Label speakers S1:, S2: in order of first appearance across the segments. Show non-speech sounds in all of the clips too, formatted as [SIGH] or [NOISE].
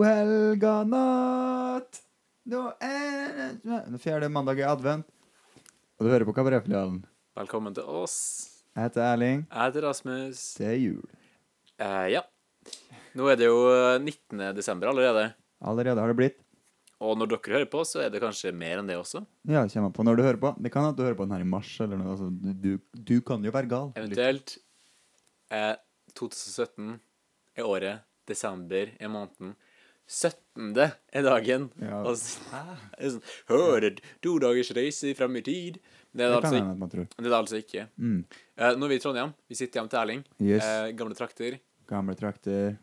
S1: helga natt Nå er det Den fjerde mandag i advent. Og du hører på Kabaretfilialen.
S2: Velkommen til oss.
S1: Jeg heter Erling.
S2: Jeg heter Rasmus.
S1: Det er jul.
S2: Eh, ja. Nå er det jo 19. desember allerede.
S1: Allerede har det blitt.
S2: Og når dere hører på, så er det kanskje mer enn det også.
S1: Ja, det kommer an på når du hører på. Det kan at du hører på den her i mars eller noe. Altså, du, du, du kan jo være gal.
S2: Eventuelt eh, 2017 er året. Desember er måneden. 17. er dagen.
S1: Ja.
S2: Og så- det er sånn, Hører to dagers reise fram i tid. Det er
S1: Det
S2: det
S1: kan
S2: altså,
S1: hende at man tror.
S2: ikke- det er det altså ikke.
S1: Mm.
S2: Eh, nå er vi i Trondheim. Vi sitter hjemme til Erling.
S1: Yes.
S2: Eh, gamle trakter.
S1: Gamle trakter.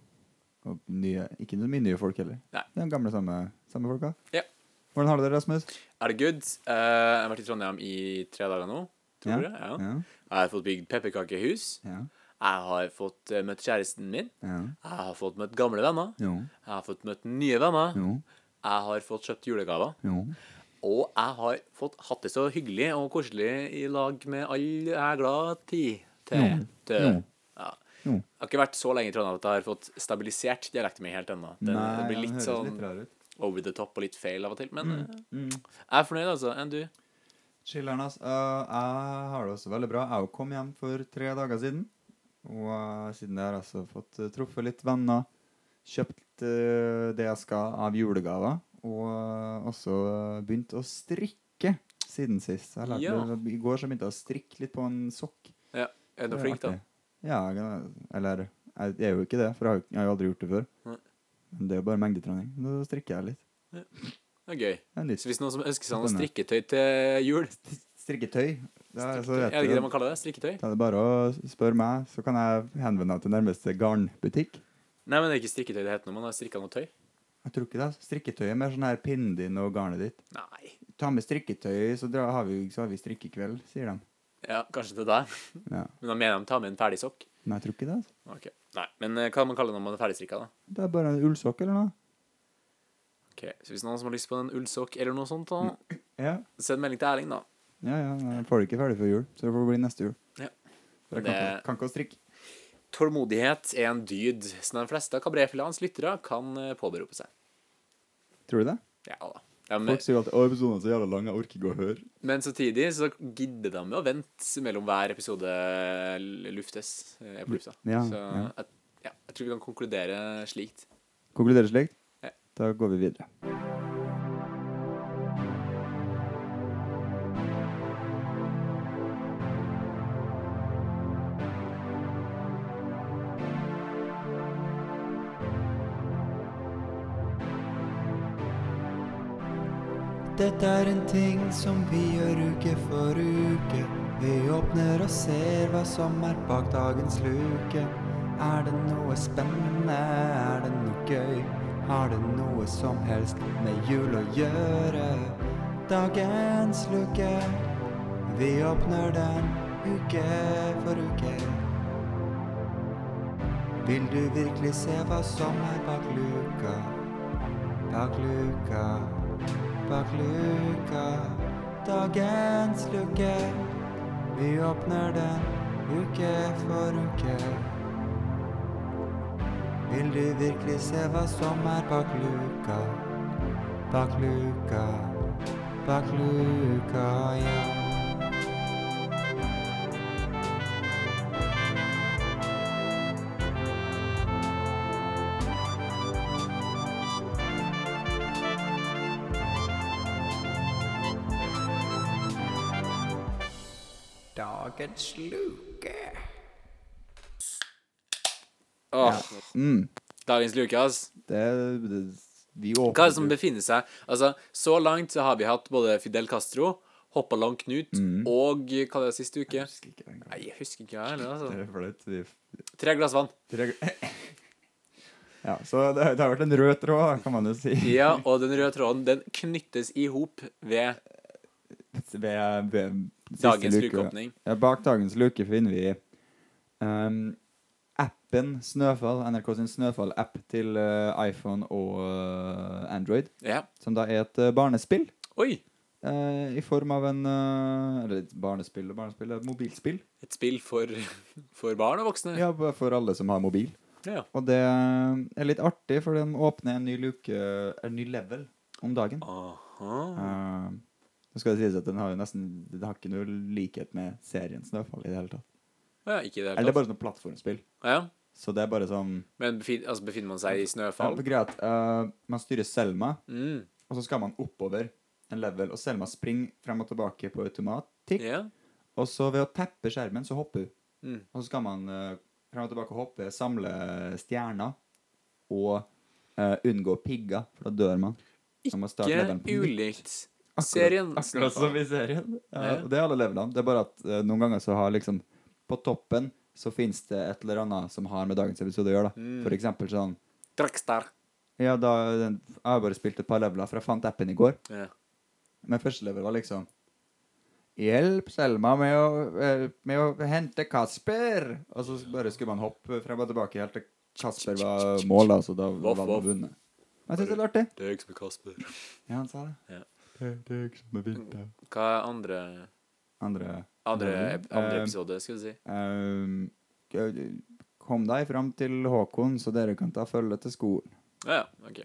S1: Og nye, ikke så mye nye folk heller.
S2: Nei.
S1: Det er de gamle, samme, samme folka.
S2: Ja.
S1: Hvordan har du det, Rasmus?
S2: Er det good? Eh, jeg har vært i Trondheim i tre dager nå.
S1: Ja.
S2: Tror jeg. Ja.
S1: Ja.
S2: Jeg har fått bygd pepperkakehus.
S1: Ja.
S2: Jeg har fått eh, møtt kjæresten min.
S1: ja.
S2: Jeg har fått møtt gamle venner.
S1: Jo.
S2: Jeg har fått møtt nye venner.
S1: Jo.
S2: Jeg har fått kjøpt julegaver.
S1: Jo.
S2: Og jeg har fått hatt det så hyggelig og koselig i lag med alle jeg er glad tid til.
S1: Jo.
S2: til.
S1: Jo.
S2: Ja.
S1: Jo.
S2: Jeg har ikke vært så lenge i Trondheim at jeg har fått stabilisert dialekten min helt ennå. Den,
S1: Nei,
S2: den blir
S1: han
S2: litt
S1: høres
S2: sånn
S1: litt rar ut.
S2: over the top og litt feil av og til. Men eh,
S1: Mm.
S2: jeg er fornøyd, altså. Enn du?
S1: Chiller'n, ass. Eh, jeg har det også veldig bra. Jeg òg kom hjem for tre dager siden. Og eh, siden det har jeg altså fått eh, truffet litt venner. Kjøpt eh, det jeg skal av julegaver. Og eh, også eh, begynt å strikke siden sist. Jeg lærte,
S2: Ja.
S1: det- I går så begynte jeg å strikke litt på en sokk.
S2: Ja, er du
S1: Det er
S2: flink, da?
S1: artig. Ja, jeg- eller jeg jeg er jo ikke det, for jeg har jo- jeg har jo aldri gjort det før.
S2: Nei.
S1: Men det er jo bare mengdetrening. Nå strikker jeg litt.
S2: Det er gøy.
S1: Det er litt
S2: Så hvis noen som ønsker seg noe
S1: Spennende.
S2: strikketøy til
S1: [LAUGHS]
S2: jul
S1: Strikketøy. Det er, så
S2: Er
S1: vet
S2: det
S1: du-
S2: ikke det man kaller det? Strikketøy?
S1: Da er det bare å spørre meg, så kan jeg henvende deg til nærmeste garnbutikk.
S2: Nei, men det er ikke strikketøy det heter når man har strikka noe tøy.
S1: Jeg tror ikke det. altså. Strikketøy er mer sånn her pinnen din og garnet ditt.
S2: Nei.
S1: Ta med strikketøy, så, dra, har, vi, så har vi strikkekveld, sier de.
S2: Ja, kanskje til deg.
S1: Ja.
S2: Men da mener de ta med en ferdig sokk.
S1: Men jeg tror ikke det. altså.
S2: Ok. Nei, men eh, hva man kaller det når man er ferdigstrikka, da?
S1: Det er bare en ullsokk eller noe.
S2: Ok, Så hvis noen som har lyst på en ullsokk eller noe sånt, da,
S1: Ja,
S2: send melding til Erling, da.
S1: ja. ja men jeg får det ikke ferdig før jul, så det får bli neste jul.
S2: Ja.
S1: For jeg
S2: Men
S1: kan,
S2: det-
S1: ikke, kan ikke å strikke.
S2: Tålmodighet er en dyd som de fleste av Kabrefilands lyttere kan eh, påberope seg.
S1: Tror du det?
S2: Ja da. Ja, men,
S1: Folk sier jo alltid 'Å, episoden er så jævla lang, jeg orker ikke å høre'.
S2: men samtidig så gidder de å vente mellom hver episode l- luftes. eh, Er på lufta.
S1: Ja,
S2: så
S1: ja.
S2: Jeg, ja, jeg tror vi kan konkludere slikt.
S1: Konkluderer slikt?
S2: Ja.
S1: Da går vi videre.
S3: Dette er en ting som vi gjør uke for uke. Vi åpner og ser hva som er bak dagens luke. Er det noe spennende? Er det noe gøy? Har det noe som helst med jul å gjøre? Dagens luke, vi åpner den uke for uke. Vil du virkelig se hva som er bak luka? Bak luka, bak luka, dagens luke. Vi åpner den uke for uke. Vil du virkelig se hva som er bak luka? Bak luka, bak luka, ja. Dagens luke.
S2: Åh,
S1: Mm.
S2: Dagens Lukas.
S1: Det, det Vi åpner
S2: Hva er det som befinner seg Altså, så langt så har vi hatt både Fidel Castro, Hoppalang Knut
S1: Mm.
S2: og eh, Hva var det siste uke?
S1: Jeg husker ikke den gangen.
S2: Nei, jeg husker ikke jeg heller,
S1: Det
S2: altså.
S1: er flaut. Vi-
S2: Tre glass vann.
S1: Tre [LAUGHS] Ja, så det, det har vært en rød tråd, kan man jo [LAUGHS] si.
S2: Ja, og den røde tråden, den knyttes i hop ved
S1: Ved, ved siste
S2: dagens
S1: luke.
S2: lukeåpning.
S1: Ja, bak dagens luke finner vi ehm, appen Snøfall, NRK sin Snøfall-app til eh, iPhone og eh, Android,
S2: Ja.
S1: som da er et eh, barnespill
S2: Oi!
S1: eh, i form av en eh, Eller et barnespill og barnespill, det er et mobilspill.
S2: Et spill [LAUGHS] for, for barn og voksne.
S1: Ja, for alle som har mobil.
S2: Ja, ja.
S1: Og det er litt artig, for de åpner en ny luke, en ny level, om dagen.
S2: Aha.
S1: Eh, Nå skal det sies at den har jo nesten Den har ikke noe likhet med serien Snøfall i det hele tatt.
S2: Ja, ikke i det
S1: Eller det
S2: hele
S1: er
S2: tatt.
S1: bare sånn plattformspill.
S2: Ja,
S1: Så det er bare sånn
S2: men befin, altså, befinner man seg i
S1: ja,
S2: snøfall?
S1: for Greia er at eh, man styrer Selma,
S2: Mm.
S1: og så skal man oppover en level, og Selma springer frem og tilbake på automatikk.
S2: Ja.
S1: Og så ved å tappe skjermen, så hopper hun.
S2: Mm.
S1: Og så skal man eh, frem og tilbake og hoppe, samle stjerner og eh, unngå pigger, for da dør man. Man må starte
S2: Ikke
S1: levelen på nytt.
S2: ulikt serien.
S1: Akkurat som i serien. Ja,
S2: Ja.
S1: og det er alle levelene. Det er bare at eh, noen ganger så har liksom På toppen så finnes det et eller annet som har med dagens episode å gjøre. da.
S2: Mm.
S1: For eksempel sånn
S2: Dragstar.
S1: Ja, da den, Jeg har bare spilt et par leveler, for jeg fant appen i går.
S2: Ja.
S1: Men første level var liksom Hjelp Selma med å, eh, med å hente Kasper! Og så bare skulle man hoppe frem og tilbake helt til Kasper var mål, da, så da var
S2: Voff, voff.
S1: man vunnet. Men jeg syns det er litt artig.
S2: Det er jeg som er Kasper.
S1: Ja, han sa det.
S2: Ja.
S1: Det, det er ikke som er vinter.
S2: Hva er andre
S1: Andre
S2: Andre, ep- andre
S1: Eh,
S2: episode, skal vi si.
S1: Ehm, Kom deg fram til Håkon, så dere kan ta følge til skolen.
S2: Ja, ja, OK.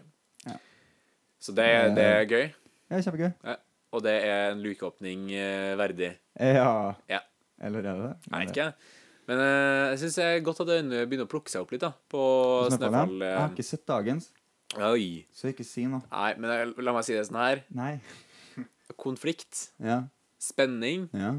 S1: Ja. Eh.
S2: Så det, det er gøy,
S1: Det er kjempegøy.
S2: og det er en lukeåpning eh, verdig.
S1: Ja.
S2: Ja.
S1: Eller er det det?
S2: Jeg vet ikke. Men eh, jeg syns det er godt at øynene begynner å plukke seg opp litt da, på
S1: Snøfall,
S2: Snøfall.
S1: ja.
S2: eh.
S1: Jeg har ikke sett dagens,
S2: Oi.
S1: så ikke si noe.
S2: Nei, men jeg, la meg si det sånn her.
S1: Nei.
S2: Konflikt,
S1: Ja.
S2: spenning,
S1: ja.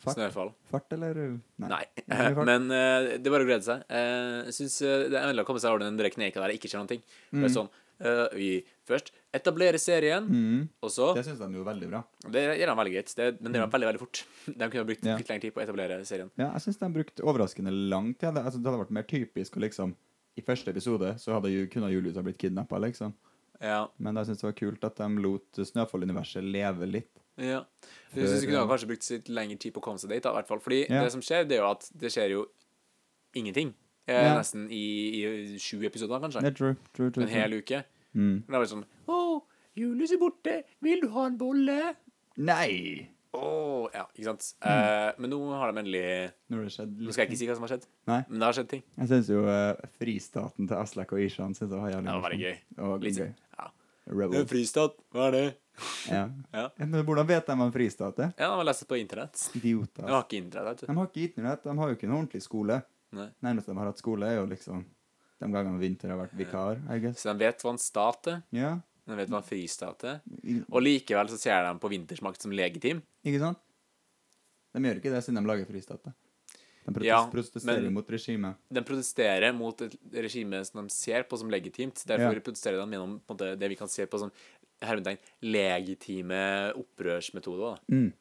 S1: Fart.
S2: snøfall.
S1: Fart, eller?
S2: Nei.
S1: Nei, fart.
S2: Men eh, det er bare å glede seg. Eh, jeg syns eh, det er endelig å komme seg over den der kneika der jeg ikke ser noen ting. Det er sånn eh, Vi først etablerer serien,
S1: Mm.
S2: og så
S1: Det syns de jo er veldig bra.
S2: Det gjør de veldig greit, det, men det gjør de veldig veldig fort. [LAUGHS] De kunne ha brukt
S1: Ja.
S2: litt lengre tid på å etablere serien.
S1: Ja, jeg syns de brukte overraskende lang tid. Det, altså, det hadde vært mer typisk å liksom I første episode så hadde ju, kunne Julius ha blitt kidnappa, liksom.
S2: Ja.
S1: Men jeg syns det var kult at de lot Snøfall-universet leve litt.
S2: Ja. Jeg synes
S1: For,
S2: de kunne ha
S1: eh,
S2: kanskje brukt litt lengre tid på å komme seg dit, da, i hvert fall. Fordi
S1: Ja.
S2: det som skjer, det er jo at det skjer jo ingenting. Eh,
S1: Ja.
S2: Nesten i, i sju episoder, kanskje.
S1: Det er true, true, true,
S2: En
S1: true.
S2: hel uke.
S1: Mm.
S2: Men det er bare sånn Å, Julius er borte! Vil du ha en bolle?
S1: Nei!
S2: Å Ja, ikke sant. Eh, men nå har de endelig
S1: Når det skjedde
S2: Nå skal jeg ikke si hva som har skjedd,
S1: Nei.
S2: men det har skjedd ting.
S1: Jeg syns jo eh, fristaten til Aslak og Ishan synes jeg var jævlig
S2: Det var veldig gøy.
S1: morsom. Det var
S2: Litt
S1: gøy.
S2: Ja.
S1: Rebel.
S2: Fristat, hva er det?
S1: Ja.
S2: Ja.
S1: Men hvordan vet de om fristat er?
S2: Ja, de har lest det på internett.
S1: Idioter.
S2: De har
S1: ass.
S2: ikke internett, vet
S1: De har ikke internett, de har jo ikke en ordentlig skole.
S2: du. Nei.
S1: Nærmest de har hatt skole, er jo liksom de gangene Vinter har vært vikar, I guess.
S2: Så de vet hva en stat er,
S1: Ja.
S2: de vet hva en fristat er.
S1: I,
S2: Og likevel så ser de på vintersmakt som legitim.
S1: ikke sant? De gjør ikke det siden de lager fristat. da. De protest,
S2: Ja,
S1: protesterer
S2: men-
S1: mot regimet.
S2: De protesterer mot et regime som de ser på som legitimt. Derfor
S1: Ja.
S2: protesterer de gjennom på en måte, det vi kan se på som hermetegn, legitime opprørsmetoder. da.
S1: Mm.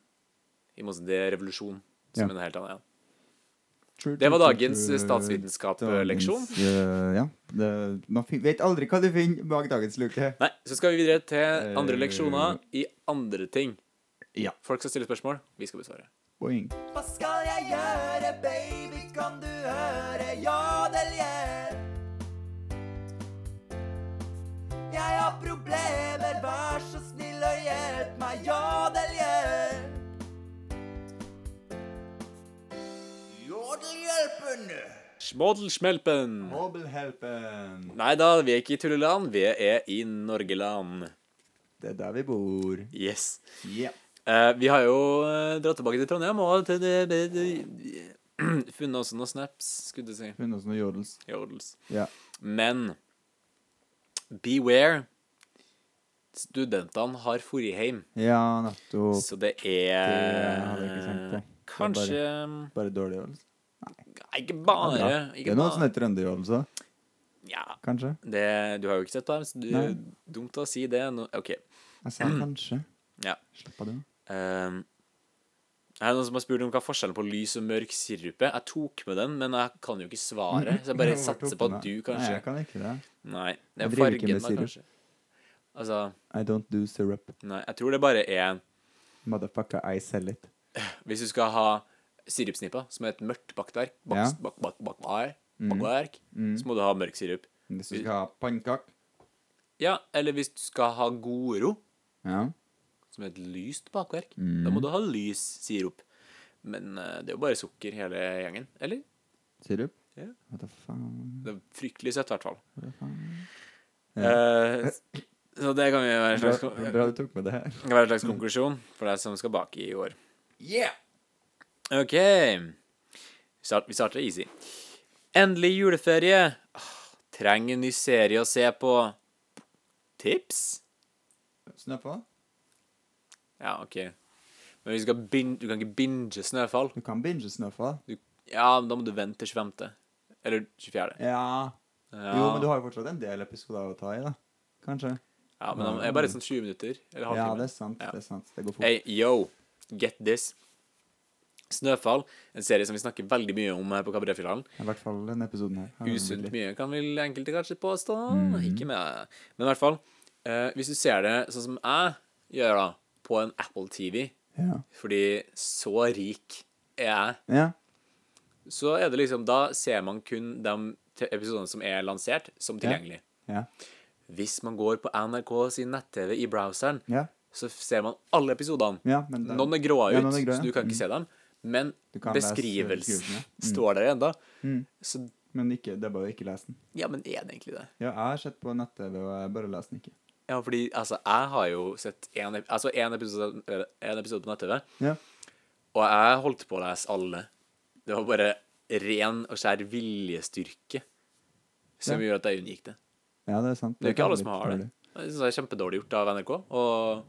S2: I motsetning til revolusjon,
S1: Ja.
S2: som er noe helt annet. Ja.
S1: True,
S2: Det
S1: true,
S2: var
S1: true,
S2: dagens eh,
S1: true.
S2: statsvitenskap-leksjon.
S1: Dagens, eh, ja. Det, man fin- vet aldri hva du finner bak dagens luke.
S2: Nei, så skal vi videre til andre
S1: Eh.
S2: leksjoner i andre ting.
S1: Ja.
S2: Folk skal stille spørsmål, vi skal besvare.
S1: Boing.
S3: Hva skal jeg gjøre, baby, kan du høre? Jodelhjelp. Jeg har problemer, vær så snill og hjelp meg, jodelhjelp. Jodelhjelpen.
S2: Smådelsmelpen!
S1: Mobilhelpen.
S2: Nei da, vi er ikke i tulleland, vi er i Norgeland.
S1: Det er der vi bor.
S2: Yes.
S1: Ja.
S2: Eh, vi har jo eh, dratt tilbake til Trondheim og til det, det, det, [CLEARS THROAT] funnet også noen snaps, skulle du si.
S1: Funnet oss noen jodels.
S2: Jodels.
S1: Ja.
S2: Men beware. Studentene har forrige hjem,
S1: ja, nettopp.
S2: så det
S1: Det hadde jeg ikke tenkt,
S2: er
S1: jeg. Det
S2: Kanskje
S1: Bare dårlige jodels.
S2: Nei, ikke
S1: Ja,
S2: bare.
S1: det
S2: Ikke
S1: er sånn noen
S2: bare.
S1: sånne trønderjodels òg,
S2: Ja,
S1: kanskje?
S2: det, du har jo ikke sett dem, så det er
S1: Nei.
S2: dumt å si det. nå- OK.
S1: Jeg sa kanskje.
S2: Ja.
S1: Slapp av, du.
S2: Um, her er noen som har spurt om hva er forskjellen på lys og mørk sirup er. Jeg tok med den, men jeg kan jo ikke svare.
S1: [LAUGHS]
S2: Så jeg bare
S1: Hvor tok
S2: satser på
S1: den,
S2: at
S1: da?
S2: du
S1: Nei,
S2: kanskje
S1: jeg kan ikke det.
S2: Nei. Det er
S1: Jeg driver ikke
S2: fargen,
S1: med
S2: da,
S1: sirup.
S2: kanskje. Altså
S1: I don't do syrup.
S2: Nei, jeg tror det bare er
S1: Motherfucker, I sell it.
S2: Hvis du skal ha sirupsnippa, som er et mørkt bakverk, bak,
S1: Ja. Mm.
S2: bak, bak, bak, bak, bakverk, så må du ha mørk sirup.
S1: Hvis du skal ha pannekake
S2: Ja, eller hvis du skal ha goro,
S1: ja.
S2: som er et lyst bakverk, da
S1: Mm.
S2: må du ha lys sirup. Men eh, det er jo bare sukker, hele gjengen. Eller?
S1: Sirup?
S2: Ja.
S1: What the faen?
S2: Det er fryktelig søtt, i hvert fall.
S1: What the faen? Ja.
S2: Eh, så det kan vi være en slags,
S1: Bra, bra du tok med det her.
S2: kan være en slags konklusjon for deg som skal bake i år.
S1: Yeah!
S2: OK. Vi start- Vi starter easy. Endelig juleferie. Ah, Trenger en ny serie å se på. Tips?
S1: Snøfall?
S2: Ja, OK. Men vi skal bin du kan ikke binge Snøfall.
S1: Du kan binge Snøfall.
S2: Ja, men da må du vente til 25. Eller 24.
S1: Ja.
S2: Ja,
S1: Jo, men du har jo fortsatt en del episoder å ta i, da. Kanskje.
S2: ja, men da er det bare sånn 20 minutter. Eller
S1: Ja,
S2: halvtime.
S1: det er sant.
S2: Ja.
S1: Det er sant. Det går fort.
S2: Hey, yo, get this. Snøfall, en serie som vi snakker veldig mye om her på Kabaretfilialen.
S1: I hvert fall denne episoden her. Her er
S2: Usunt
S1: det
S2: mye, kan vel enkelte kanskje påstå.
S1: Mhm.
S2: Ikke med Men i hvert fall, eh, hvis du ser det sånn som jeg gjør, da, på en Apple TV,
S1: Ja.
S2: fordi så rik er jeg,
S1: ja.
S2: så er det liksom Da ser man kun de te- episodene som er lansert, som
S1: Ja.
S2: tilgjengelig.
S1: Ja.
S2: Hvis man går på NRK sin nett-TV i browseren,
S1: Ja.
S2: så ser man alle episodene.
S1: ja men da-
S2: Noen er grå ut,
S1: Ja, noen er grå,
S2: så du kan ikke
S1: ja.
S2: se dem. Men
S1: Du kan lese
S2: beskrivelsen
S1: beskrivelsen, ja.
S2: står der ennå.
S1: Mm.
S2: Så
S1: Men ikke, det er bare å ikke lese den.
S2: ja, men er det egentlig det?
S1: Ja, jeg har sett på nett-TV, og jeg bare leser den ikke.
S2: Ja, fordi altså, jeg har jo sett én ep- altså, en episode, eh, en episode på nett-TV,
S1: Ja.
S2: og jeg holdt på å lese alle. Det var bare ren og skjær viljestyrke som
S1: Ja.
S2: gjorde at jeg unngikk det.
S1: ja, det er sant.
S2: Det er jo ikke alle
S1: veldig
S2: som har det.
S1: dårlig.
S2: Jeg synes det er kjempedårlig gjort av NRK. Og,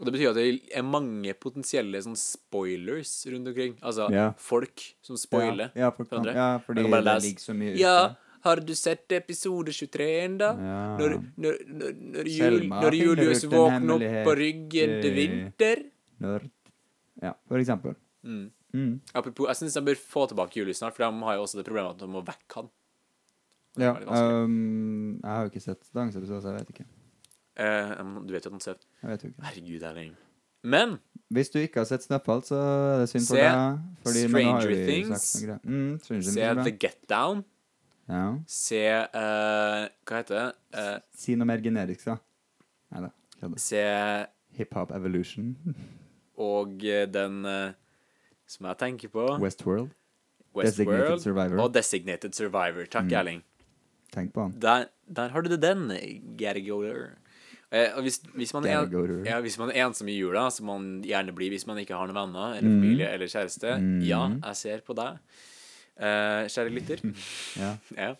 S2: og det betyr at det er mange potensielle sånn spoilers rundt omkring. Altså
S1: Ja.
S2: folk som spoiler
S1: Ja, ja, folk kan-
S2: hverandre.
S1: ja, fordi
S2: Man kan bare
S1: det
S2: lese,
S1: ligger så mye ute.
S2: Ja, har du sett episode 23 ennå?
S1: Ja.
S2: Når, når, når, når, jul,
S1: Selma
S2: når
S1: finner
S2: Julius
S1: ut en
S2: våkner opp
S1: hemmelighet
S2: på ryggen til
S1: i-
S2: vinter?
S1: Nerd. Ja, for eksempel.
S2: Mm.
S1: Mm.
S2: Apropos, jeg syns de bør få tilbake Julius snart, for de har jo også det problemet at de må vekke han. Det
S1: Ja,
S2: er veldig vanskelig.
S1: ehm, jeg har jo ikke sett dagens episode, så jeg vet ikke.
S2: Eh, du vet jo at han sover.
S1: Jeg vet jo ikke.
S2: Herregud, det er lenge. Men
S1: Hvis du ikke har sett Snøfall, så er det synd for
S2: Se
S1: deg. fordi- men nå har vi sagt
S2: Stranger
S1: noe
S2: Things.
S1: greit. Mm, Stranger Things
S2: se
S1: er bra.
S2: The Get Down.
S1: Ja.
S2: Se eh, Hva heter det? Eh,
S1: Si noe mer generisk, da. Nei da.
S2: se
S1: Hiphop Evolution.
S2: og eh, den eh, som jeg tenker på
S1: Westworld. Designated
S2: Westworld
S1: Survivor. Mm.
S2: og Designated Survivor. Takk, Erling.
S1: Tenk på han.
S2: Der, der har du det den, Gergoler. Eh, og hvis, hvis, man er,
S1: Gergoler.
S2: ja, hvis man er ensom i jula, som man gjerne blir hvis man ikke har noen venner
S1: Mm.
S2: eller familie eller kjæreste Ja, jeg ser på deg, eh, kjære lytter.
S1: [LAUGHS] Ja.
S2: Ja.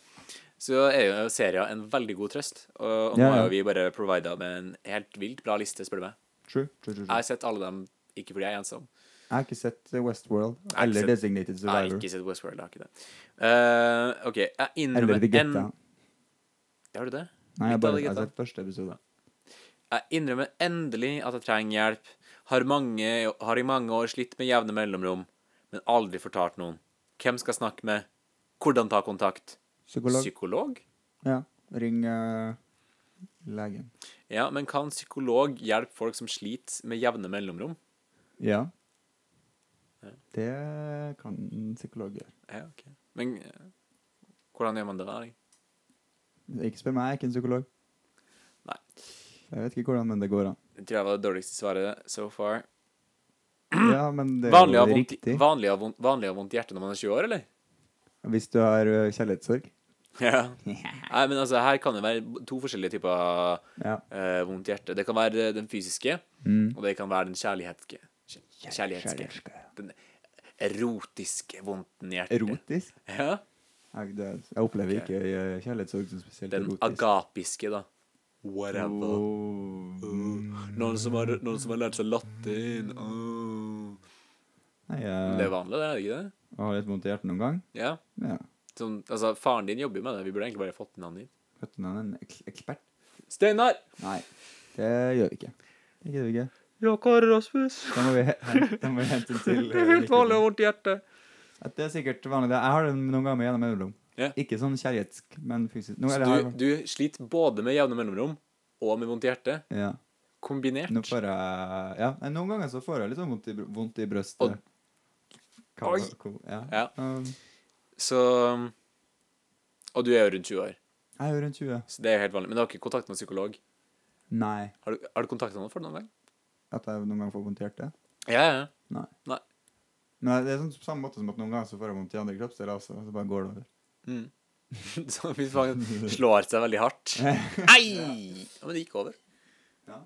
S2: Så er jo serien en veldig god trøst. Og, og nå
S1: Ja,
S2: har
S1: ja.
S2: jo vi bare provida med en helt vilt bra liste, spør du meg.
S1: True. true, true,
S2: Jeg
S1: true.
S2: har sett alle dem, ikke fordi jeg er ensom.
S1: Jeg har ikke sett eh, Westworld
S2: har ikke
S1: eller
S2: sett-
S1: Designated
S2: Jeg har
S1: Survivor.
S2: ikke sett Westworld, jeg har ikke det. Eh, OK, jeg
S1: Eller
S2: innrømmer
S1: The Get
S2: en
S1: Down.
S2: Har du det?
S1: Nei,
S2: Litt
S1: jeg
S2: av
S1: bare
S2: The
S1: jeg
S2: Get
S1: har
S2: Down.
S1: sett første episode.
S2: Jeg innrømmer endelig at jeg trenger hjelp. Har, mange, har i mange år slitt med jevne mellomrom, men aldri fortalt noen. Hvem skal snakke med? Hvordan ta kontakt?
S1: Psykolog.
S2: Psykolog?
S1: Ja. Ring eh, legen.
S2: Ja, men kan psykolog hjelpe folk som sliter med jevne mellomrom?
S1: Ja. Det kan en psykolog gjøre.
S2: Ja, ok. Men eh, hvordan gjør man det? da, Erling?
S1: Ikke spør meg, jeg er ikke en psykolog.
S2: Nei.
S1: Jeg vet ikke hvordan, men det går
S2: [CLEARS THROAT]
S1: an.
S2: Det tror jeg var det dårligste svaret so far.
S1: Ja, men det er
S2: Vanlig å
S1: jo
S2: ha vondt,
S1: riktig.
S2: vanlig å ha vondt, vanlig å ha vondt hjerte når man er 20 år, eller? [LAUGHS]
S1: Hvis du har ø, kjærlighetssorg.
S2: Ja. Nei, men altså, her kan det være to forskjellige typer
S1: Ja.
S2: eh, vondt hjerte. Det kan være den fysiske,
S1: Mm.
S2: og det kan være den kjærlighetske. kjæ- Kjærlighetske. Den erotiske vondten i hjertet.
S1: Erotisk?
S2: [LAUGHS] Ja.
S1: Jeg, det, jeg opplever ikke ø, kjærlighetssorg som spesielt
S2: Den
S1: erotisk.
S2: agapiske, da. Whatever. Mm.
S1: Oh.
S2: Noen som har, noen som har lært seg latin. Oh.
S1: Nei,
S2: Men Det
S1: jeg
S2: er vanlig, det, er det ikke det?
S1: har litt vondt i hjertet noen gang.
S2: Ja.
S1: Ja.
S2: Sånn, altså, faren din jobber jo med det. Vi burde egentlig bare fått inn han hit.
S1: Fødte han en eks- ekspert?
S2: Steinar!
S1: Nei, det gjør vi ikke. Det gidder vi ikke.
S2: Ja, Kari Rasmus.
S1: Da må vi, hen- da må vi hente
S2: [LAUGHS]
S1: den til. ø, Mikkel.
S2: vondt hjerte.
S1: At det er sikkert vanlig. det. Jeg har det noen ganger gjennom mellomrom.
S2: Ja.
S1: Ikke sånn kjærlighetsk, men fysisk. Nå, eller,
S2: Du,
S1: har-
S2: du sliter både med jevne mellomrom og med vondt hjerte,
S1: ja.
S2: kombinert.
S1: Nå får jeg Ja, nei, noen ganger så får jeg litt sånn vondt i, br- vondt i brøstet.
S2: Og-
S1: Hva-
S2: Oi!
S1: ko- Ja.
S2: Ja.
S1: Um,
S2: Så Og du er jo rundt 20 år,
S1: jeg er jo rundt 20.
S2: så det er jo helt vanlig. Men du har ikke kontakt med en psykolog?
S1: Nei.
S2: Har du, har du kontakta noen for det noen gang?
S1: At jeg noen gang får vondt i hjertet?
S2: Ja, ja.
S1: Nei.
S2: Nei.
S1: Men det er sånn på samme måte som at noen ganger så får jeg vondt i andre kroppsdeler også, og så bare går det over.
S2: Mm. [LAUGHS] Så hvis man slår seg veldig hardt Ei! Ja, men det gikk over.
S1: Ja.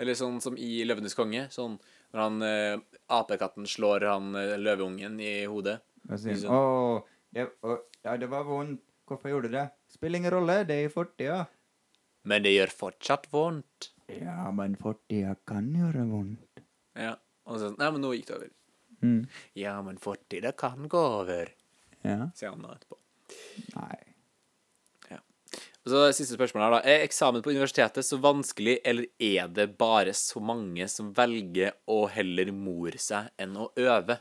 S2: Eller sånn som i 'Løvenes konge'. Sånn når han eh, apekatten slår han eh, løveungen i hodet.
S1: Og så sier
S2: Liksom.
S1: han Å, det, å, ja, det var vondt. Hvorfor gjorde du det? Spiller ingen rolle, det er i fortida.
S2: Men det gjør fortsatt vondt.
S1: Ja, men fortida kan gjøre vondt.
S2: Ja. Og så sånn Nei, men nå gikk det over.
S1: Mm.
S2: Ja, men fortida kan gå over,
S1: Ja.
S2: sier han da etterpå.
S1: Nei.
S2: Og så det siste spørsmålet her, da. Er eksamen på universitetet så vanskelig, eller er det bare så mange som velger å heller more seg enn å øve?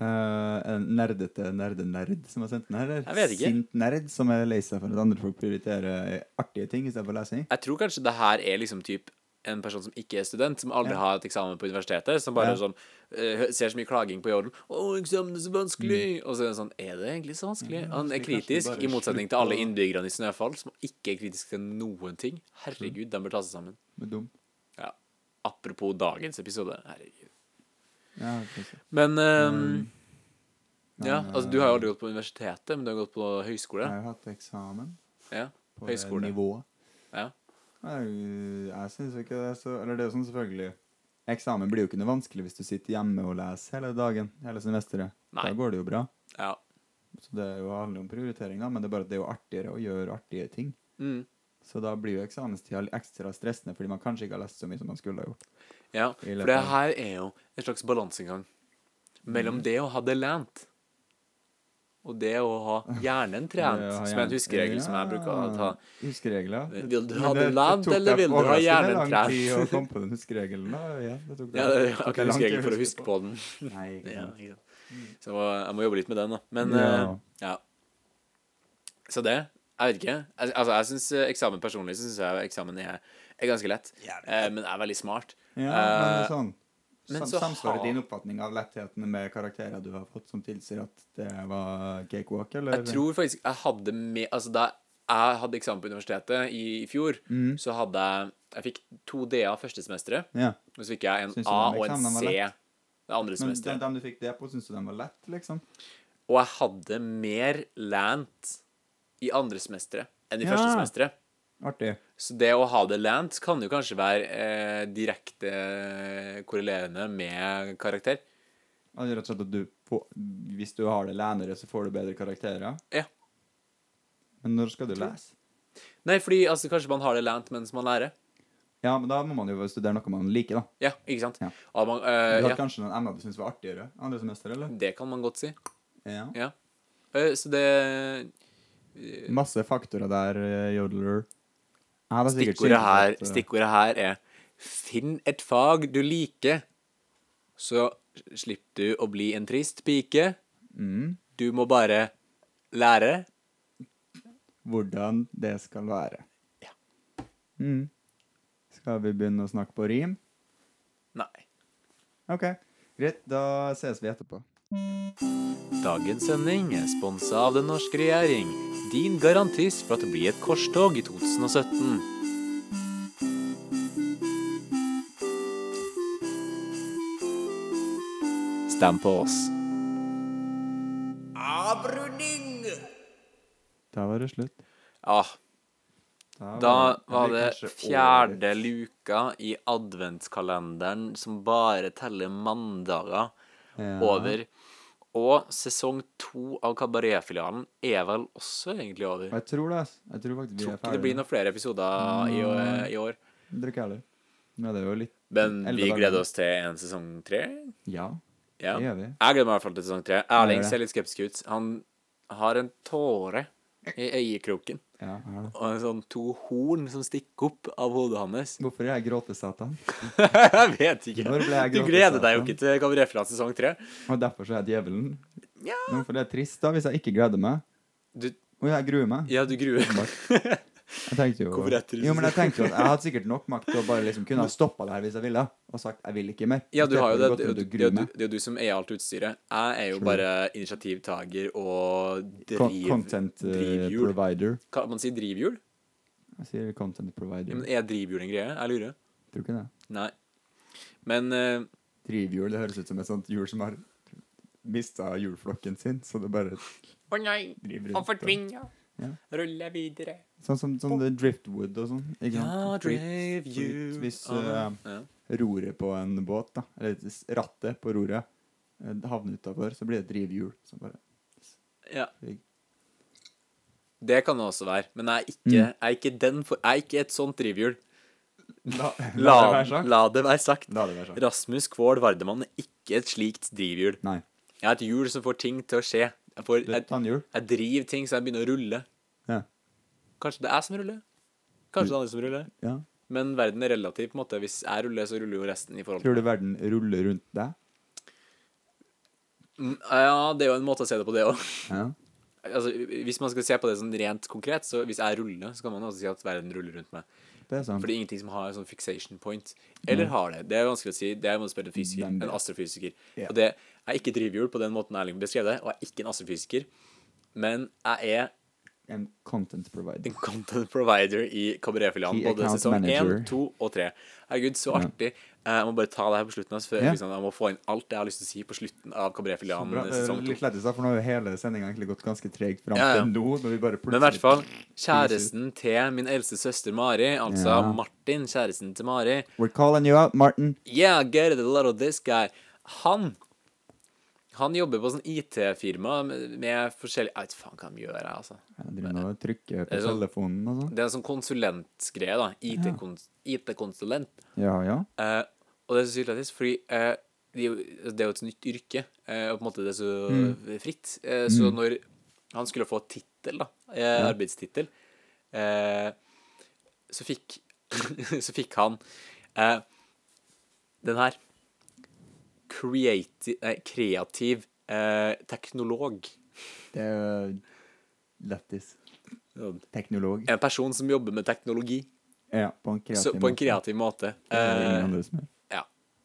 S1: Eh, en nerdete nerde-nerd som har sendt den her? eller?
S2: Jeg vet ikke.
S1: Sint nerd som er lei seg for at andre folk prioriterer eh, artige ting istedenfor lesing?
S2: Jeg tror kanskje det her er liksom typ en person som ikke er student, som aldri
S1: Ja.
S2: har et eksamen på universitetet, som bare
S1: Ja.
S2: sånn eh, hø- ser så mye klaging på jorden. 'Å, eksamen er så vanskelig!'
S1: Mm.
S2: Og så er det sånn Er det egentlig så vanskelig? Han er
S1: så
S2: kritisk,
S1: kanskje bare
S2: i motsetning til
S1: slutt
S2: alle
S1: å-
S2: innbyggerne i Snøfall, som ikke er kritiske til noen ting. Herregud,
S1: Mm.
S2: de bør ta seg sammen.
S1: Det er dumt.
S2: Ja. Apropos dagens episode. Herregud.
S1: Ja, kanskje.
S2: Men ehm,
S1: Mm.
S2: Ja,
S1: Men, eh,
S2: altså du har jo aldri gått på universitetet, men du har gått på
S1: Jeg
S2: høyskole.
S1: har hatt eksamen
S2: Ja,
S1: på det
S2: høyskole.
S1: nivået.
S2: Ja.
S1: Nei, Jeg syns ikke det er så Eller det er jo sånn, selvfølgelig. Eksamen blir jo ikke noe vanskelig hvis du sitter hjemme og leser hele dagen, hele semesteret.
S2: Nei.
S1: Da går det jo bra.
S2: ja.
S1: Så det er jo handler om prioritering, da, men det er bare at det er jo artigere å gjøre artige ting.
S2: Mm.
S1: Så da blir jo eksamenstida litt ekstra stressende fordi man kanskje ikke har lest så mye som man skulle ha gjort.
S2: ja.
S1: I løpet
S2: For det
S1: av- Mm.
S2: her er jo en slags balansegang mellom det å ha det lent og det å ha hjernen trent,
S1: [LAUGHS] Det har
S2: som er en
S1: hjernen-
S2: huskeregel som jeg bruker å ta.
S1: Ja, Huskeregler.
S2: Vil du
S1: Men
S2: ha det lavt,
S1: tok
S2: eller
S1: deg
S2: vil du ha hjernen
S1: overraskende lang tid
S2: trent?
S1: å komme på den huskeregelen. Da. Ja, det tok
S2: Ja, det er akkurat en huskeregel for å huske på den.
S1: [LAUGHS] Nei, ikke
S2: Ja,
S1: sant.
S2: ikke sant. Så jeg må, jeg må jobbe litt med den, da. Men
S1: Ja.
S2: eh, ja. Så det Jeg vet ikke. Al- Altså, jeg synes eh, eksamen personlig så synes jeg eksamen er, er ganske lett. Eh, men jeg er veldig smart.
S1: ja, men det
S2: Eh,
S1: er sånn.
S2: men
S1: Sam,
S2: så
S1: samsvarer
S2: har-
S1: din oppfatning av lettheten med karakterer du har fått, som tilsier at det var cakewalk, eller?
S2: Jeg tror faktisk jeg hadde med Altså da jeg hadde eksamen på universitetet i, i fjor,
S1: Mm.
S2: så hadde jeg Jeg fikk to D-er første semesteret,
S1: Ja.
S2: og så fikk jeg en
S1: Synes du
S2: A
S1: den
S2: og en
S1: eksamenen var
S2: C
S1: lett?
S2: det andre
S1: Men den,
S2: semesteret.
S1: den du fikk det på, syns du den var lett, liksom?
S2: Og jeg hadde mer lent i andre semesteret enn i
S1: Ja.
S2: første semesteret.
S1: Artig.
S2: Så det å ha det lent kan jo kanskje være eh, direkte eh, korrelerende med karakter.
S1: Ja, det er Rett og slett at du på, Hvis du har det lenere, så får du bedre karakterer.
S2: Ja.
S1: Men når skal du
S2: Tror-
S1: lese?
S2: Nei, fordi altså, kanskje man har det lent mens man lærer.
S1: Ja, men da må man jo studere noe man liker, da.
S2: Ja, ikke sant?
S1: Ja.
S2: Og man,
S1: Du
S2: eh,
S1: hadde
S2: ja,
S1: kanskje noen emner du syntes var artigere andre semester, eller?
S2: det kan man godt si.
S1: Ja.
S2: Ja. Eh, så det
S1: Masse faktorer der, eh, Jodler. Ja, det er sikkert
S2: Stikkordet her,
S1: sikkert, eh,
S2: stikkordet her er Finn et fag du liker, så slipper du å bli en trist pike.
S1: Mm,
S2: Du må bare lære.
S1: hvordan det skal være.
S2: Ja.
S1: Mm. Skal vi begynne å snakke på rim?
S2: Nei.
S1: OK. Greit, da ses vi etterpå.
S2: Dagens sending er sponsa av den norske regjering. Din garantist for at det blir et korstog i 2017. Stem på oss.
S1: Da var det slutt.
S2: Ja,
S1: Ah.
S2: da
S1: var-
S2: var
S1: eller
S2: det
S1: kanskje
S2: fjerde
S1: årets-
S2: luka i adventskalenderen som bare teller mandager
S1: Ja.
S2: over. Og sesong to av Kabaretfilialen er vel også egentlig over.
S1: Jeg tror det. ass. Jeg tror faktisk vi
S2: tror
S1: er
S2: ikke det blir
S1: ferdige.
S2: noen flere episoder i, år- i år.
S1: Tror ikke jeg heller. Men det er jo litt
S2: Men
S1: Elleve
S2: vi
S1: dager.
S2: gleder oss til en sesong tre.
S1: Ja,
S2: Ja.
S1: det gjør
S2: Jeg
S1: vi.
S2: gleder meg i hvert fall til sesong tre. Erling
S1: gjør det.
S2: ser litt skeptisk ut. Han har en tåre i øyekroken.
S1: Ja, ja.
S2: Og en sånn to horn som stikker opp av hodet hans.
S1: Hvorfor er jeg gråtesatan?
S2: [LAUGHS] jeg vet ikke.
S1: Når ble jeg
S2: Du
S1: gråtesatan?
S2: gleder deg jo ikke til Kabaretfilans sesong tre.
S1: Og derfor så er jeg djevelen.
S2: Ja.
S1: Men for det er trist, da, hvis jeg ikke gleder meg.
S2: Du,
S1: Og jeg gruer meg.
S2: ja, du gruer
S1: [LAUGHS] Jeg tenkte jo
S2: Hvorfor er det trist?
S1: Jo, men jeg tenkte jo at jeg hadde sikkert nok makt til å bare liksom kunne ha stoppa det her hvis jeg ville, og sagt 'jeg vil ikke mer'.
S2: Ja, du har jo
S1: Istedenfor å
S2: det. Det
S1: gå
S2: er
S1: til
S2: jo
S1: å
S2: det er jo
S1: grue
S2: du,
S1: meg.
S2: det er jo du som eier alt utstyret. Jeg er jo
S1: True.
S2: bare initiativtager og
S1: Con-
S2: driv,
S1: Content eh,
S2: drivhjul.
S1: provider.
S2: Kan man si drivhjul?
S1: Jeg sier content provider.
S2: Ja, men er drivhjul en greie? Jeg lurer.
S1: Tror ikke det.
S2: Nei. Men eh,
S1: Drivhjul, det høres ut som et sånt hjul som har mista hjulflokken sin, så det bare
S2: Å nei,
S1: driver
S2: han
S1: rundt. og-
S2: forsvinner.
S1: Ja.
S2: Ruller videre.
S1: Sånn som sånn det er driftwood og sånn. ikke
S2: Ja,
S1: sant?
S2: drive
S1: Drift-
S2: you
S1: drift Hvis
S2: on.
S1: eh,
S2: Ja.
S1: roret på en båt, da, eller s- rattet på roret, eh, havner utafor, så blir det et drivhjul. som bare
S2: Ja.
S1: Rigg.
S2: Det kan det også være, men jeg er ikke,
S1: Mm.
S2: jeg er ikke, den for, jeg er ikke et sånt drivhjul.
S1: La,
S2: La,
S1: det være sagt.
S2: la det være sagt.
S1: La det sånn. være sagt.
S2: Rasmus Kvål Vardemann er ikke et slikt drivhjul.
S1: Nei.
S2: Jeg har et hjul som får ting til å skje. Jeg, får,
S1: Det er
S2: jeg,
S1: et tannhjul.
S2: jeg driver ting så jeg begynner å rulle.
S1: Ja.
S2: Kanskje det er jeg som ruller? Kanskje det er andre som ruller?
S1: ja.
S2: Men verden er relativ. på en måte. Hvis jeg ruller, så ruller jo resten. i forhold
S1: Tror
S2: til
S1: du verden ruller rundt deg?
S2: Mm, Ja, det er jo en måte å se det på, det òg.
S1: Ja.
S2: [LAUGHS] Altså, hvis man skal se på det sånn rent konkret, så hvis jeg ruller, så kan man også si at verden ruller rundt meg.
S1: Det er sant.
S2: For det er ingenting som har en sånn fixation point. Eller har det. Det er vanskelig å si. Det må du spørre en fysiker.
S1: Hvem vet?
S2: En astrofysiker.
S1: Ja.
S2: Og det, jeg er ikke drivhjul på den måten Erling beskrev det, og jeg er ikke en astrofysiker. Men jeg er
S1: En content provider.
S2: en [LAUGHS] content provider i Kabaretfilialen.
S1: Key
S2: Både
S1: account
S2: sesong
S1: manager.
S2: 1, 2 og 3. Herregud, så artig. Eh, Jeg må bare ta det her på slutten. Altså, for
S1: Ja.
S2: liksom, jeg må få inn alt jeg har lyst til å si på slutten av
S1: Så bra.
S2: Kabaretfilialen
S1: Det er
S2: sesong 2.
S1: litt lettest, da, for nå har jo hele sendinga egentlig gått ganske tregt fram
S2: Ja, ja.
S1: til nå. Når vi bare
S2: Men i hvert
S1: plutselig-
S2: fall, kjæresten til min eldste søster Mari, altså
S1: Ja.
S2: Martin, kjæresten til Mari,
S1: We're calling you out, Martin.
S2: Yeah, get it, a lot of this guy. Han Han jobber på sånn IT-firma med med forskjellig Jeg vet faen hva de gjør, jeg, altså.
S1: Jeg driver nå og trykker på
S2: det sånn-
S1: telefonen og sånn.
S2: Det er en sånn konsulentgreie, da. IT-kons- IT-konsulent.
S1: Ja, ja.
S2: Eh, og det er så sykt lættis, fordi eh, det, er jo, det er jo et nytt yrke, eh, og på en måte det er så
S1: Mm.
S2: fritt. Eh, så når han skulle få tittel, da, eh, arbeidstittel, eh, så fikk [LAUGHS] Så fikk han eh, den her. Creati nei, kreativ eh, teknolog.
S1: Det er jo lættis.
S2: En
S1: Teknolog.
S2: person som jobber med teknologi
S1: Ja, på en kreativ
S2: så, på en
S1: måte.
S2: kreativ måte.
S1: Det er det ingen
S2: Eh,
S1: andre som gjør.
S2: Ja.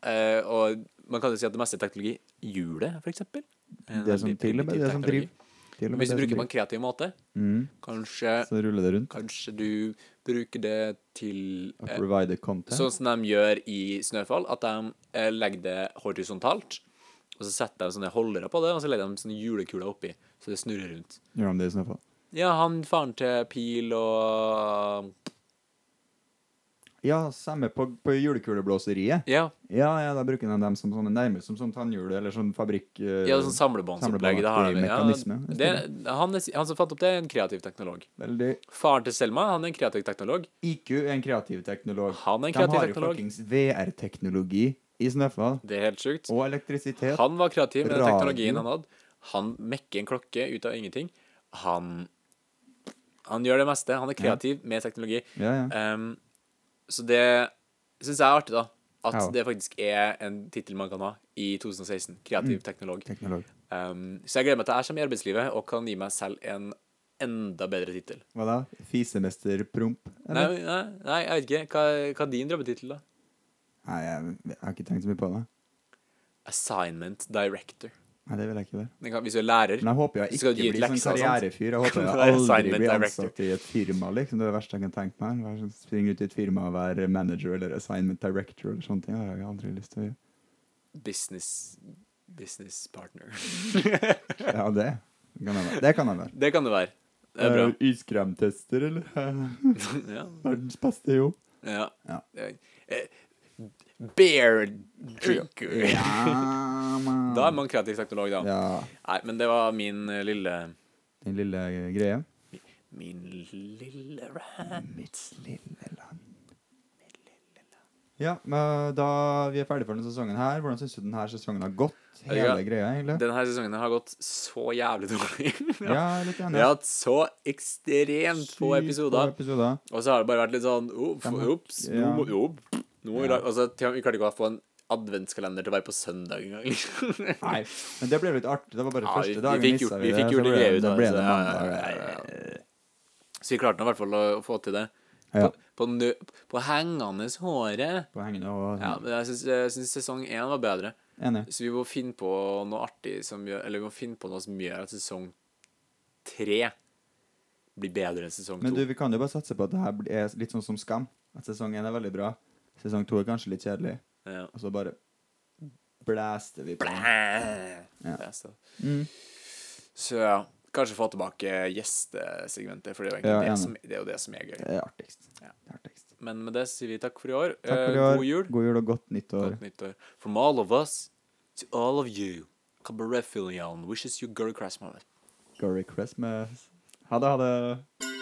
S2: Eh, og man kan jo si at det meste er teknologi. Hjulet, for eksempel. er en
S1: Det som
S2: veldig
S1: til og med
S2: primitiv
S1: det som
S2: teknologi.
S1: driver. Til og
S2: Men
S1: med
S2: hvis du
S1: det som
S2: bruker Eh, det
S1: driver.
S2: på en kreativ måte,
S1: Mm,
S2: kanskje,
S1: så ruller det rundt.
S2: kanskje du bruker det til
S1: Og
S2: eh,
S1: provide content.
S2: Sånn som de gjør i Snøfall, at de eh, legger det horisontalt. Og så setter de sånne holdere på det, og så legger de sånne julekuler oppi, så det snurrer rundt.
S1: Gjør de det i så fall.
S2: Ja, han faren til Pil og
S1: Ja, samme på, på julekuleblåseriet.
S2: Ja,
S1: Ja, ja, da bruker de dem som sånne nærmest som sånn tannhjul eller sånn fabrikk... eh,
S2: ja sånn samlebåndsopplegg. det har de. Ja,
S1: Samlebåndaktig mekanisme.
S2: det, han, er- han som fant opp det, er en kreativ teknolog.
S1: Veldig.
S2: Faren til Selma han er en kreativ teknolog.
S1: IQ er en kreativ teknolog.
S2: Han er en
S1: De
S2: kreativ
S1: har jo
S2: teknolog.
S1: fuckings VR-teknologi i Snøfall.
S2: Det er helt sjukt.
S1: Og elektrisitet.
S2: Han var kreativ med den
S1: Oh, Radio.
S2: teknologien han hadde. Han mekker en klokke ut av ingenting. Han Han gjør det meste. Han er kreativ med teknologi.
S1: Ja, ja.
S2: Ehm, så det syns jeg er artig, da. At
S1: Ja.
S2: det faktisk er en tittel man kan ha i
S1: Mm.
S2: 2016. Kreativ teknolog.
S1: Teknolog.
S2: Ehm, så jeg gleder meg til jeg kommer i arbeidslivet og kan gi meg selv en enda bedre tittel.
S1: Hva da? Fisemester Promp?
S2: Nei,
S1: Eller?
S2: nei, nei, jeg vet ikke. Hva, hva er din drømmetittel, da?
S1: Nei, jeg, jeg har ikke tenkt så mye på det.
S2: Assignment director.
S1: Nei, det vil jeg ikke være.
S2: Den kan, hvis du er lærer
S1: Men jeg håper jeg
S2: Skal
S1: ikke
S2: du gi ut
S1: blir sånn
S2: lekser og sånt?
S1: karrierefyr. Jeg
S2: [LAUGHS]
S1: håper
S2: Kan
S1: jeg
S2: du være
S1: aldri
S2: assignment
S1: blir
S2: director?
S1: ansatt i et firma, liksom. Det er det verste jeg kan tenke meg. Være sånn- Springe ut i et firma og være manager eller assignment director eller sånne ting. Det har jeg aldri lyst til å gjøre.
S2: business business partner. [LAUGHS]
S1: Ja, det kan jeg være. Det kan jeg være.
S2: Det kan det være. Det er bra.
S1: Eh, Iskremtester, eller? [LAUGHS]
S2: [LAUGHS] Ja.
S1: Verdens beste jobb.
S2: ja.
S1: Eh, Ja.
S2: Eh, Bear drinker.
S1: [LAUGHS] Ja, man.
S2: [LAUGHS] Da er man kreativ teknolog, da.
S1: Ja,
S2: Nei, men det var min eh, lille
S1: den lille greia.
S2: Min lille rant.
S1: Mitt lille land. Ja, men da vi er ferdig for denne sesongen her, hvordan syns du denne sesongen har gått? Hele
S2: Ja.
S1: greia, egentlig?
S2: Denne sesongen har gått så jævlig dårlig.
S1: Ja,
S2: [LAUGHS]
S1: jeg er litt
S2: Vi har
S1: enig.
S2: hatt så ekstremt få
S1: Sykt
S2: episoder.
S1: få episoder.
S2: Og så har det bare vært litt sånn Ops,
S1: De har-
S2: ops nå må
S1: ja.
S2: opp, nå må vi
S1: Ja.
S2: lage Altså, til og med- vi klarte ikke å få en adventskalender til å være på søndag engang. [LAUGHS] liksom.
S1: Nei, men det ble litt artig. Det var bare
S2: Ja, vi- vi
S1: første dagen
S2: fikk gjort-
S1: misset
S2: vi
S1: det,
S2: fikk
S1: så
S2: gjort
S1: ble
S2: en greie ut
S1: da
S2: av
S1: ble
S2: det, så
S1: det.
S2: ja, ja,
S1: mandag.
S2: ja, ja. Så vi klarte nå i hvert fall å, å få til det.
S1: Ja.
S2: På, på, nø, på hengende håret.
S1: På hengende og
S2: Ja, men jeg syns, jeg syns sesong én var bedre.
S1: Enig.
S2: Så vi må finne på noe artig som gjør Eller vi må finne på noe som gjør at sesong tre blir bedre enn sesong
S1: Men
S2: to.
S1: du, vi kan jo bare satse på at det her blir- er litt sånn som Skam. At sesong én er veldig bra. Sesong to er kanskje litt kjedelig.
S2: Ja.
S1: Og så bare blæste vi på. den. Ja.
S2: Det er så-
S1: Mm.
S2: Så ja, kanskje få tilbake gjestesegmentet, for det er jo egentlig
S1: Ja,
S2: det,
S1: enig.
S2: som, det, er jo det som er gøy.
S1: Det er artigst.
S2: Ja.
S1: Det er artigst.
S2: Men med det sier vi takk for i år.
S1: Takk for i
S2: Eh,
S1: år.
S2: God jul.
S1: God jul og godt nyttår.
S2: Godt nyttår. From all of us to all of you. Cabaret Filion wishes you girl Christmas.
S1: Merry Christmas. Ha det, ha det.